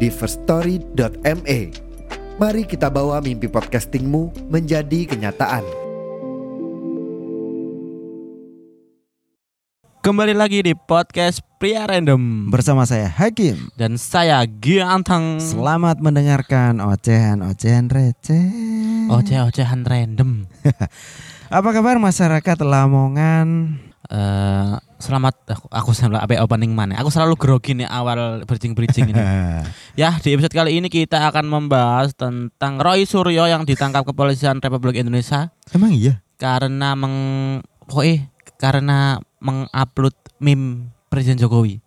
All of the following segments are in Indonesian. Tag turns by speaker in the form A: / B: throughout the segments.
A: di firststory.me. Mari kita bawa mimpi podcastingmu menjadi kenyataan.
B: Kembali lagi di podcast Pria Random
C: Bersama saya Hakim.
B: dan saya Giantang.
C: Selamat mendengarkan ocehan-ocehan receh.
B: Oceh-ocehan random.
C: Apa kabar masyarakat Lamongan?
B: Eh, selamat aku, aku selalu apa ya, opening mana? Aku selalu grogi nih awal bridging-bridging ini. Ya, di episode kali ini kita akan membahas tentang Roy Suryo yang ditangkap kepolisian Republik Indonesia
C: Emang iya?
B: karena meng pokoknya karena mengupload meme Presiden Jokowi.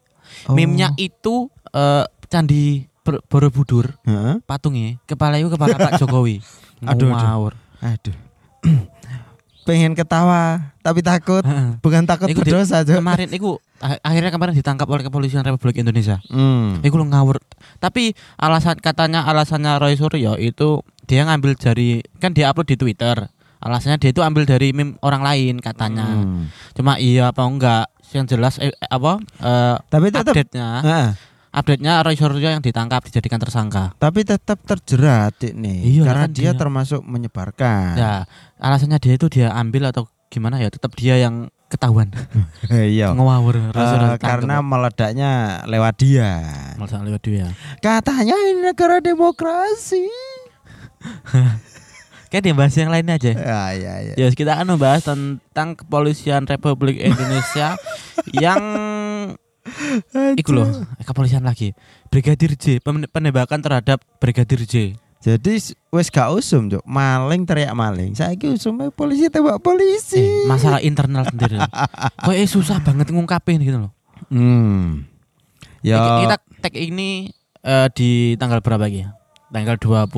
C: Oh.
B: Meme-nya itu eh, Candi Ber- Borobudur
C: Heeh.
B: patungnya kepala itu kepala Pak Jokowi
C: Aduh, aduh.
B: Ngawur.
C: Aduh. Pengen ketawa tapi takut.
B: Heeh.
C: Bukan takut
B: Iku di-
C: berdosa, Cuk.
B: kemarin itu akhirnya kemarin ditangkap oleh kepolisian Republik Indonesia
C: Hmm.
B: Iku lo ngawur tapi alasan katanya alasannya Roy Suryo ya itu dia ngambil dari kan dia upload di Twitter alasannya dia itu ambil dari meme orang lain katanya
C: Hmm.
B: cuma iya apa enggak yang jelas eh, apa eh,
C: Tapi tetap
B: update-nya
C: Heeh.
B: update-nya Roy Suryo yang ditangkap dijadikan tersangka
C: tapi tetap terjerat ini
B: Iya,
C: karena
B: kan dia.
C: dia, termasuk menyebarkan.
B: ya alasannya dia itu dia ambil atau gimana ya tetap dia yang ketahuan
C: iya.
B: ngawur Roy Suryo
C: Eh,
B: ditangkap.
C: karena meledaknya lewat dia.
B: Malah lewat dia. ya.
C: Katanya ini negara demokrasi.
B: Kayak dia bahas yang lainnya aja.
C: Ya, ya, ya.
B: Ya, kita akan membahas tentang kepolisian Republik Indonesia yang iku loh, eh, kepolisian lagi. Brigadir J, pem- penembakan terhadap Brigadir J. Eh,
C: Jadi s- wes gak usum, Cuk. Maling teriak maling. Saiki usumnya polisi tembak polisi.
B: Eh, masalah internal sendiri. Kok eh, susah banget ngungkapin gitu loh.
C: Hmm. Ya.
B: Ki- Kita tag ini eh, di tanggal berapa ya? Tanggal 24.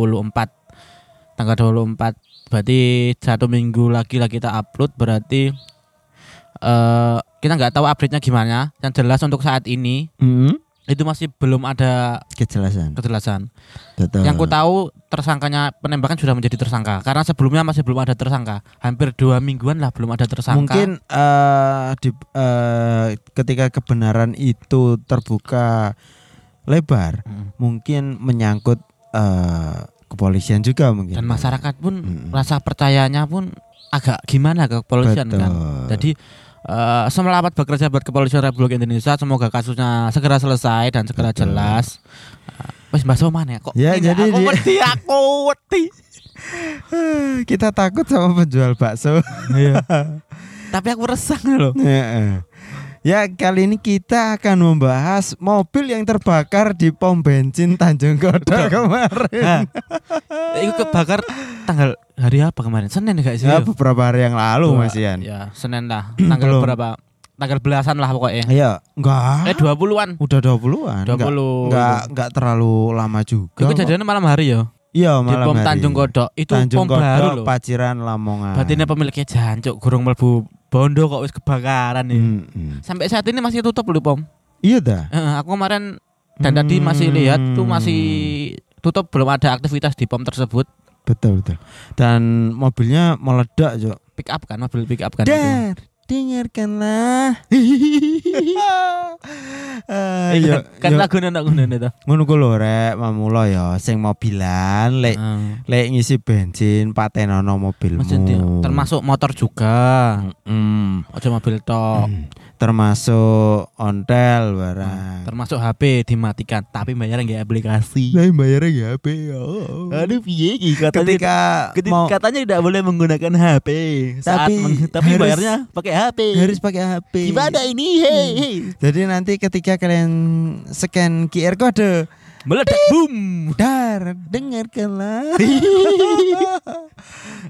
B: Tanggal 24 berarti satu minggu lagi lah kita upload berarti eh kita nggak tahu update-nya gimana. Yang jelas untuk saat ini
C: Hmm,
B: itu masih belum ada
C: kejelasan.
B: kejelasan.
C: Betul.
B: Yang ku tahu tersangkanya penembakan sudah menjadi tersangka karena sebelumnya masih belum ada tersangka. Hampir dua mingguan lah belum ada tersangka.
C: Mungkin eh, di, eh, ketika kebenaran itu terbuka lebar,
B: Mm.
C: mungkin menyangkut eh, kepolisian juga mungkin.
B: dan masyarakat pun
C: Mm-mm.
B: rasa percayanya pun agak gimana ke kepolisian
C: Betul.
B: kan. Jadi eh selamat bekerja buat kepolisian Republik Indonesia. Semoga kasusnya segera selesai dan segera
C: Betul.
B: jelas. Eh, Wes Mbak Soman ya kok.
C: Ya,
B: ini
C: jadi
B: aku
C: dia-
B: wedi, aku wedi.
C: kita takut sama penjual bakso. Iya.
B: Tapi aku resah loh.
C: Heeh. Ya kali ini kita akan membahas mobil yang terbakar di pom bensin Tanjung Kodok
B: Nah,
C: kemarin.
B: itu kebakar tanggal hari apa kemarin? Senin enggak sih?
C: Ya
B: Yo?
C: beberapa hari yang lalu
B: Dua-
C: Mas Ian.
B: Ya, Senin lah. Tanggal
C: Belum.
B: berapa? Tanggal belasan lah pokoknya.
C: Iya,
B: Eh
C: enggak.
B: 20-an.
C: Udah
B: 20.
C: 20-an. Enggak, enggak, enggak terlalu lama juga.
B: Itu
C: kok.
B: kejadiannya malam hari ya.
C: Iya,
B: Di
C: malam
B: pom
C: hari.
B: Tanjung Kodok. Itu pom
C: Tanjung
B: baru
C: Kodok,
B: loh.
C: Paciran Lamongan.
B: Batinnya pemiliknya jancuk gurung melbu bondo kok wis kebakaran
C: Hmm.
B: ya.
C: Mm-mm.
B: Sampai saat ini masih tutup loh pom.
C: Iya dah.
B: Eh, aku kemarin dan tadi masih lihat tuh
C: Hmm.
B: masih
C: Mm.
B: tutup belum ada aktivitas di pom tersebut.
C: betul betul. Dan mobilnya meledak, Cok.
B: Pick up kan mobil pick up kan. itu.
C: Dar, dengarkanlah. Eh,
B: Iya,
C: yo,
B: kan
C: yo,
B: lagu nana
C: Hmm.
B: gunane to.
C: ngono ku lho rek, mamula ya sing
B: Ah.
C: mobilan lek lek ngisi bensin patenono mobilmu.
B: Maksudnya termasuk motor juga.
C: Mm,
B: Ojo mobil tok.
C: Hmm. termasuk ontel barang.
B: Termasuk HP dimatikan tapi bayar nggak aplikasi.
C: Ah, Lah bayarnya ya HP.
B: piye iki
C: ketika mau
B: katanya tidak boleh menggunakan HP
C: Tapi harus-
B: pakai HP.
C: harus pakai HP.
B: ini? Hei,
C: Hmm.
B: hei.
C: Jadi nanti ketika kalian scan QR kode,
B: Meledak boom.
C: dar dengarkanlah.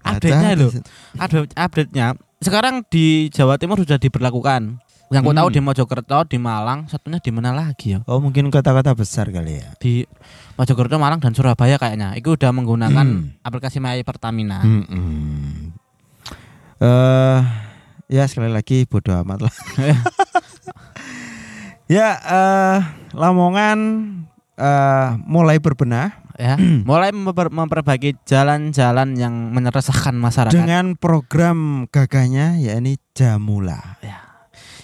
B: Update-nya loh. Update update-nya sekarang di Jawa Timur sudah diberlakukan. Yang gue tahu
C: Hmm.
B: di Mojokerto, di Malang, satunya di mana lagi ya?
C: Oh mungkin kota-kota besar kali ya.
B: Di Mojokerto, Malang dan Surabaya kayaknya. Itu udah menggunakan
C: Hmm.
B: aplikasi My Pertamina.
C: Mm-mm. Eh, ya sekali lagi bodoh amat lah. ya eh Lamongan eh mulai berbenah
B: Ya,
C: Hmm.
B: mulai memper- memperbaiki jalan-jalan yang menyerasahkan masyarakat.
C: dengan program gagahnya yakni Jamula.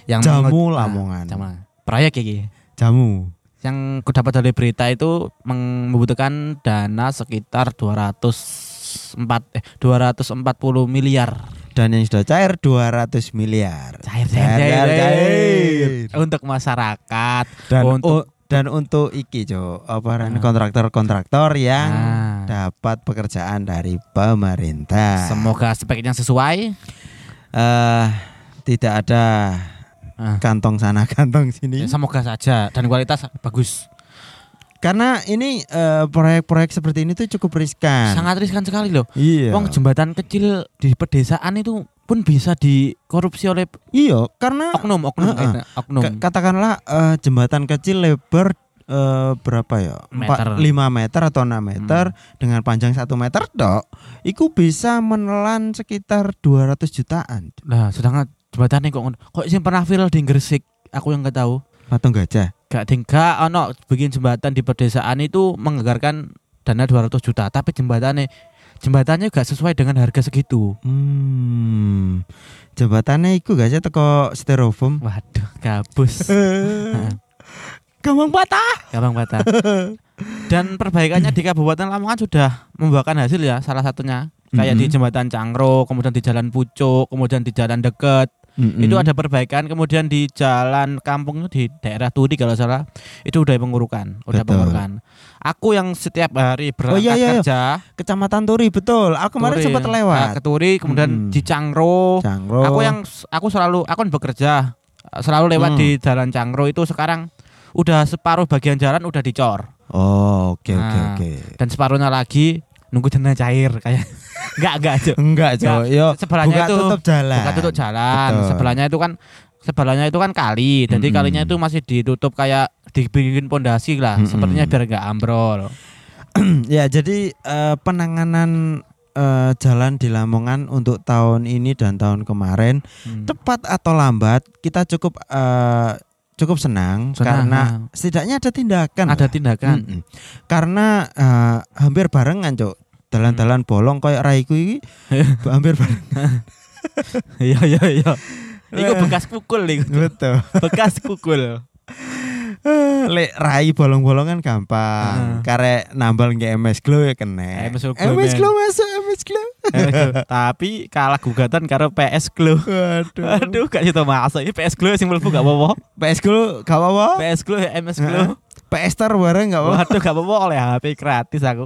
B: yang
C: Jamu
B: mengut-
C: Lamongan.
B: Ah, jamu. Proyek iki.
C: Jamu.
B: Yang ku dapat dari berita itu meng- membutuhkan dana sekitar 204 eh 240 miliar.
C: Dan yang sudah cair 200 miliar.
B: Cair
C: Cair, cair, cair.
B: Untuk masyarakat.
C: Dan
B: Untuk- Ah.
C: untuk dan untuk iki Jo, apa namanya, kontraktor-kontraktor yang
B: Nah.
C: dapat pekerjaan dari pemerintah.
B: Semoga speknya sesuai.
C: eh tidak ada
B: Ah.
C: kantong sana kantong
B: Ya,
C: sini
B: Semoga saja dan kualitas bagus.
C: karena ini eh, proyek-proyek seperti ini tuh cukup riskan
B: Sangat riskan sekali loh.
C: Nah. iya
B: Wong jembatan kecil di pedesaan itu pun bisa dikorupsi oleh
C: iya karena
B: oknum, oknum,
C: Heeh.
B: eh, oknum.
C: ka- katakanlah eh, jembatan kecil lebar eh, berapa ya
B: Meter. Hmm.
C: 5 meter atau 6 meter dengan panjang 1 meter dok itu bisa menelan sekitar 200 jutaan
B: Lah, sedangkan jembatannya kok ngono. kok sing pernah viral di Gresik, aku yang nggak tahu.
C: patung gajah
B: Gak tinggal ono bikin jembatan di pedesaan itu menganggarkan dana 200 juta, tapi jembatannya jembatannya gak sesuai dengan harga segitu.
C: hmm jembatannya itu gajah teko styrofoam
B: Waduh, gabus.
C: Eh, gampang ah. patah
B: Gampang patah. Dan perbaikannya di Kabupaten Lamongan sudah membuahkan hasil ya, salah satunya kayak di
C: Mhm.
B: jembatan Cangro, kemudian di Jalan Pucuk, kemudian di Jalan Deket,
C: Mm-mm.
B: itu ada perbaikan kemudian di jalan kampung di daerah Turi kalau salah itu udah pengurukan udah
C: Betul.
B: pengurukan aku yang setiap hari berangkat
C: iya, iya, iya.
B: kerja
C: Kecamatan Turi Ah, betul. Aku
B: Turi,
C: kemarin sempat
B: nah,
C: lewat. Mm-hmm.
B: ke Turi kemudian
C: Mm-mm.
B: di Cangro
C: Cangro.
B: aku yang aku selalu aku kan bekerja selalu lewat
C: Hmm.
B: di jalan Cangro itu sekarang udah separuh bagian jalan udah dicor
C: Oh, oke oke
B: Nah.
C: oke.
B: dan separuhnya lagi nunggu dana cair kayak nggak nggak Cuk.
C: Enggak, Jo. Yo,
B: sebelahnya
C: buka
B: itu
C: tutup jalan.
B: buka tutup jalan
C: Betul.
B: sebelahnya itu kan sebelahnya itu kan kali jadi
C: Mm-mm.
B: kalinya itu masih ditutup kayak dibikin pondasi lah
C: Mm-mm.
B: sepertinya biar nggak ambrol
C: ya, jadi eh, penanganan eh, jalan di Lamongan untuk tahun ini dan tahun kemarin
B: Hmm.
C: tepat atau lambat kita cukup eh, cukup senang,
B: Senang,
C: karena kan ya? Mm.
B: ah.
C: setidaknya ada tindakan.
B: ada
C: lah.
B: tindakan
C: Mm-mm. Karena eh, hampir barengan, Jo. Jalan-jalan bolong kayak raiku ini hampir bareng.
B: iya iya iya itu
C: Wah.
B: bekas pukul nih
C: Betul.
B: bekas pukul
C: Eh, Lek rai bolong-bolongan
B: Heeh.
C: gampang. Karek nambal nggak MS Glow ya kena.
B: MS Glow,
C: MS
B: Eh, men. Eh, iya.
C: Glow masuk MS Glow.
B: tapi kalah gugatan karena PS Glow
C: Waduh.
B: aduh gak gitu masa ini PS Glow sing mlebu gak apa-apa
C: PS Glow gak apa-apa.
B: PS Glow MS Glow
C: PS Star bareng gak apa-apa.
B: waduh gak apa-apa oleh HP gratis aku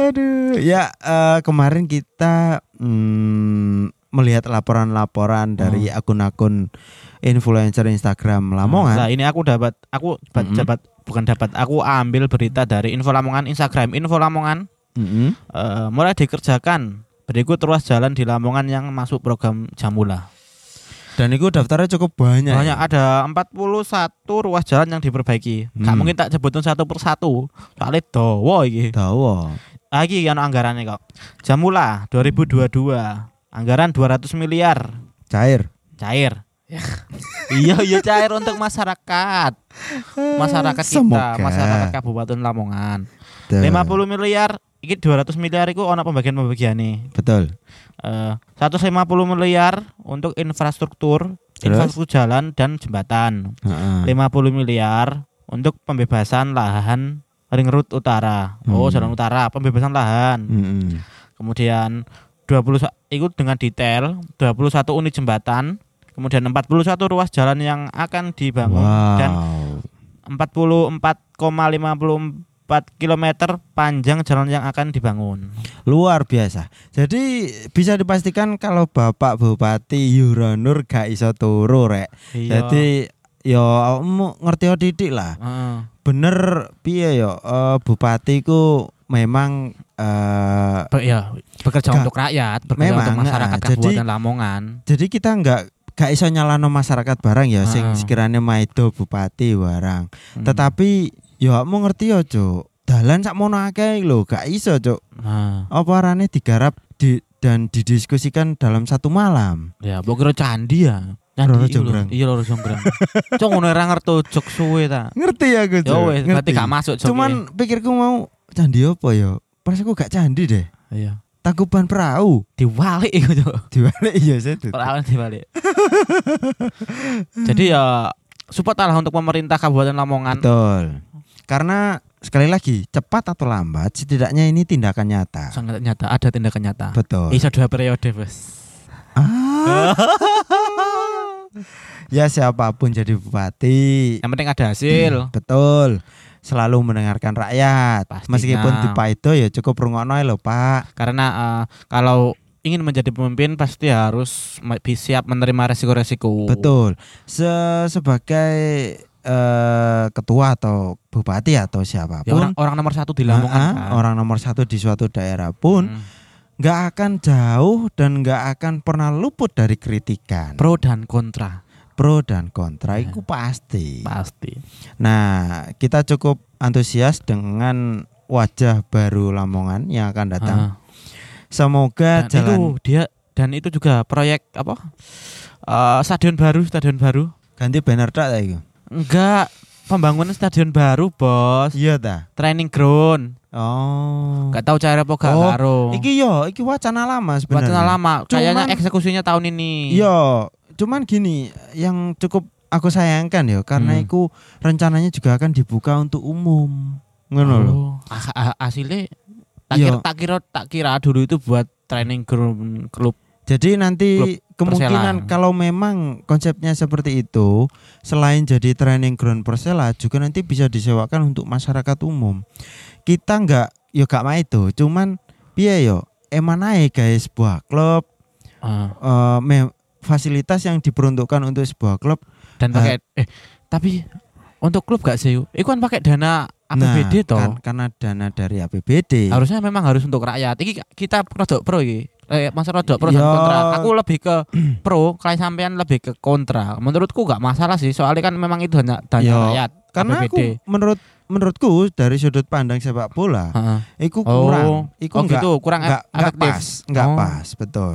C: Aduh. Ya eh, kemarin kita hmm, melihat laporan-laporan dari akun-akun influencer Instagram
B: Nah,
C: Lamongan.
B: ini aku dapat aku dapat
C: Mhm.
B: dapat- bukan dapat aku ambil berita dari Info Lamongan Instagram Info Lamongan
C: Mm-mm.
B: eh, mulai dikerjakan berikut ruas jalan di Lamongan yang masuk program Jamula.
C: Dan itu daftarnya cukup banyak.
B: Banyak ada 41 ruas jalan yang diperbaiki. Gak
C: Hmm.
B: mungkin tak sebutin satu persatu. Soalnya dawa iki.
C: Tahu.
B: Ah, iki ana anggarannya kok. Jamula 2022. Anggaran 200 miliar
C: Cair.
B: cair. iya, iya cair untuk masyarakat. Masyarakat kita,
C: Semoga.
B: masyarakat Kabupaten Lamongan.
C: Tuh.
B: 50 miliar iki 200 miliar iku ana pembagian-pembagian nih.
C: Betul.
B: Eh 150 miliar untuk infrastruktur,
C: Terus? Nah.
B: infrastruktur jalan dan jembatan.
C: Heeh.
B: 50 miliar untuk pembebasan lahan ring road utara. Oh,
C: Hmm.
B: jalan utara, pembebasan lahan.
C: Mm-mm.
B: Kemudian 20 itu dengan detail 21 unit jembatan, kemudian 41 ruas jalan yang akan dibangun
C: Wow.
B: dan 44,54 km panjang jalan yang akan dibangun.
C: luar biasa. Jadi bisa dipastikan kalau Bapak Bupati Yuranur gak iso turu rek.
B: Iya.
C: Jadi yo mu ngerti yo didik lah.
B: Heeh.
C: Bener piye yo eh, bupati ku memang eh
B: Be- ya, bekerja
C: Gak-
B: untuk rakyat, bekerja
C: Memang,
B: untuk masyarakat
C: nah, jadi-
B: Kabupaten Lamongan.
C: jadi kita nggak gak iso nyalano masyarakat barang ya sing
B: Ah.
C: sekiranya maido bupati barang.
B: Hmm.
C: Tetapi ya mau ngerti ya, Cuk. Dalan sakmono akeh lho, gak iso, Cuk.
B: Nah,
C: Apa arane digarap di dan didiskusikan dalam satu malam.
B: ya mbok kira candi ya. Candi iku
C: Loro
B: lho.
C: Jonggrang.
B: Iya loro jonggrang. Cok ngono ora ngerti jok suwe ta.
C: Ngerti ya gue,
B: Ya
C: Cuk.
B: wes berarti gak masuk ya. joke.
C: Cuman pikirku mau candi apa ya? Pas aku gak candi deh.
B: iya.
C: Tangkuban perahu.
B: Diwalik iku Cok.
C: Dibalik iya saya tuh.
B: Perawan dibalik. Jadi ya support lah untuk pemerintah Kabupaten Lamongan.
C: Betul. Karena sekali lagi cepat atau lambat setidaknya ini tindakan nyata.
B: Sangat nyata, ada tindakan nyata.
C: Betul.
B: Bisa dua periode, Bos.
C: Ah. ya siapapun jadi bupati.
B: Yang penting ada hasil.
C: Hmm, Betul. Selalu mendengarkan rakyat.
B: Pastinya.
C: Meskipun di Paido ya cukup rungono ae lho, Pak.
B: Karena eh, kalau ingin menjadi pemimpin pasti harus me- bi- siap menerima resiko-resiko.
C: Betul. Se- sebagai eh, ketua atau bupati atau siapapun.
B: Ya, orang, orang nomor satu di Lamongan.
C: ah,
B: kan.
C: orang nomor satu di suatu daerah pun
B: Hmm.
C: nggak akan jauh dan nggak akan pernah luput dari kritikan
B: pro dan kontra
C: pro dan kontra
B: Ya.
C: itu pasti
B: pasti.
C: nah kita cukup antusias dengan wajah baru Lamongan yang akan datang
B: Ah.
C: semoga
B: Dan itu
C: jalan
B: dia dan itu juga proyek apa? Eh, stadion baru, stadion baru.
C: ganti banner tak ta iku?
B: Enggak, pembangunan stadion baru, Bos.
C: iya ta
B: Training ground.
C: oh
B: Enggak tahu cara apa gak
C: Oh,
B: karo.
C: iki yo iki wacana lama sebenarnya
B: Wacana lama,
C: Cuman-
B: kayaknya eksekusinya tahun ini.
C: Iya, cuman gini, yang cukup aku sayangkan ya karena
B: Hmm.
C: itu rencananya juga akan dibuka untuk umum. Ngono lho.
B: Oh, ah- ah- Asile tak kira,
C: Iya.
B: tak kira tak kira dulu itu buat training ground klub.
C: Jadi nanti
B: Klub Persela.
C: kemungkinan kalau memang konsepnya seperti itu, selain jadi training ground Persela juga nanti bisa disewakan untuk masyarakat umum. Kita nggak yo gak mah itu, cuman piye yo emang naik guys sebuah klub
B: Ah,
C: eh, me- fasilitas yang diperuntukkan untuk sebuah klub
B: dan
C: Ah.
B: pakai eh tapi untuk klub gak sih? Iku kan pakai dana APBD toh.
C: kan, karena dana dari APBD.
B: Harusnya memang harus untuk rakyat. Iki kita rodok pro iki. Eh, Mas rodok pro dan
C: Ya.
B: kontra. Aku lebih ke pro, kalian sampean lebih ke kontra. Menurutku gak masalah sih, soalnya kan memang itu hanya dana
C: Ya.
B: rakyat.
C: karena
B: APBD.
C: aku menurut menurutku dari sudut pandang sepak bola
B: Heeh.
C: itu
B: Oh.
C: kurang itu
B: Oh
C: enggak
B: gitu, kurang
C: enggak, enggak
B: efektif.
C: pas enggak
B: Oh.
C: pas betul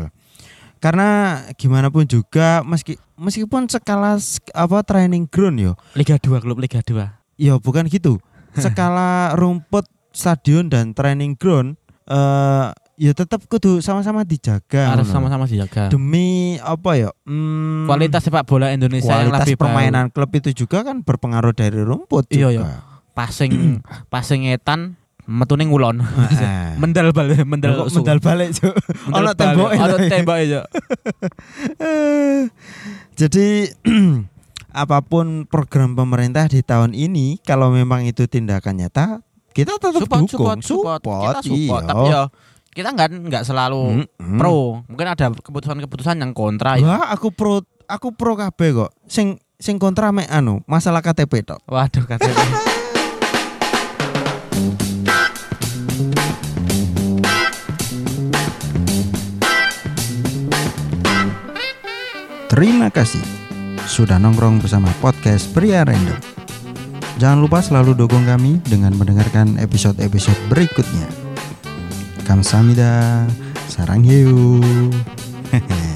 C: karena gimana pun juga meski meskipun skala sk- apa training ground yo
B: Liga 2 klub Liga 2.
C: yo bukan gitu skala rumput stadion dan training ground eh ya tetap kudu sama-sama dijaga
B: harus
C: ngono.
B: sama-sama dijaga.
C: demi apa ya hmm,
B: Ah. Kualitas sepak bola Indonesia yang
C: kualitas
B: lebih baik.
C: permainan klub itu juga kan berpengaruh dari rumput
B: Iya,
C: juga
B: iya. passing passing etan metune ngulon.
C: Heeh.
B: mendal bal mendal
C: Loh, Eh. kok
B: usul.
C: mendal balik Cuk.
B: Mendal
C: Ono
B: bal.
C: temboke
B: Ono
C: tapi.
B: temboke, Cuk.
C: Eh, Jadi apapun program pemerintah di tahun ini kalau memang itu tindakan nyata kita tetap
B: support,
C: dukung iya.
B: support, support, Kita support, tapi ya kita nggak nggak selalu pro. Mungkin ada keputusan-keputusan yang kontra ya.
C: Wah, aku pro aku pro kabeh kok. Sing sing kontra mek anu masalah KTP tok.
B: Waduh kata
C: Terima kasih sudah nongkrong bersama podcast Pria Random. Jangan lupa selalu dukung kami dengan mendengarkan episode-episode berikutnya. Kamsamida, sarang hiu. Hehehe.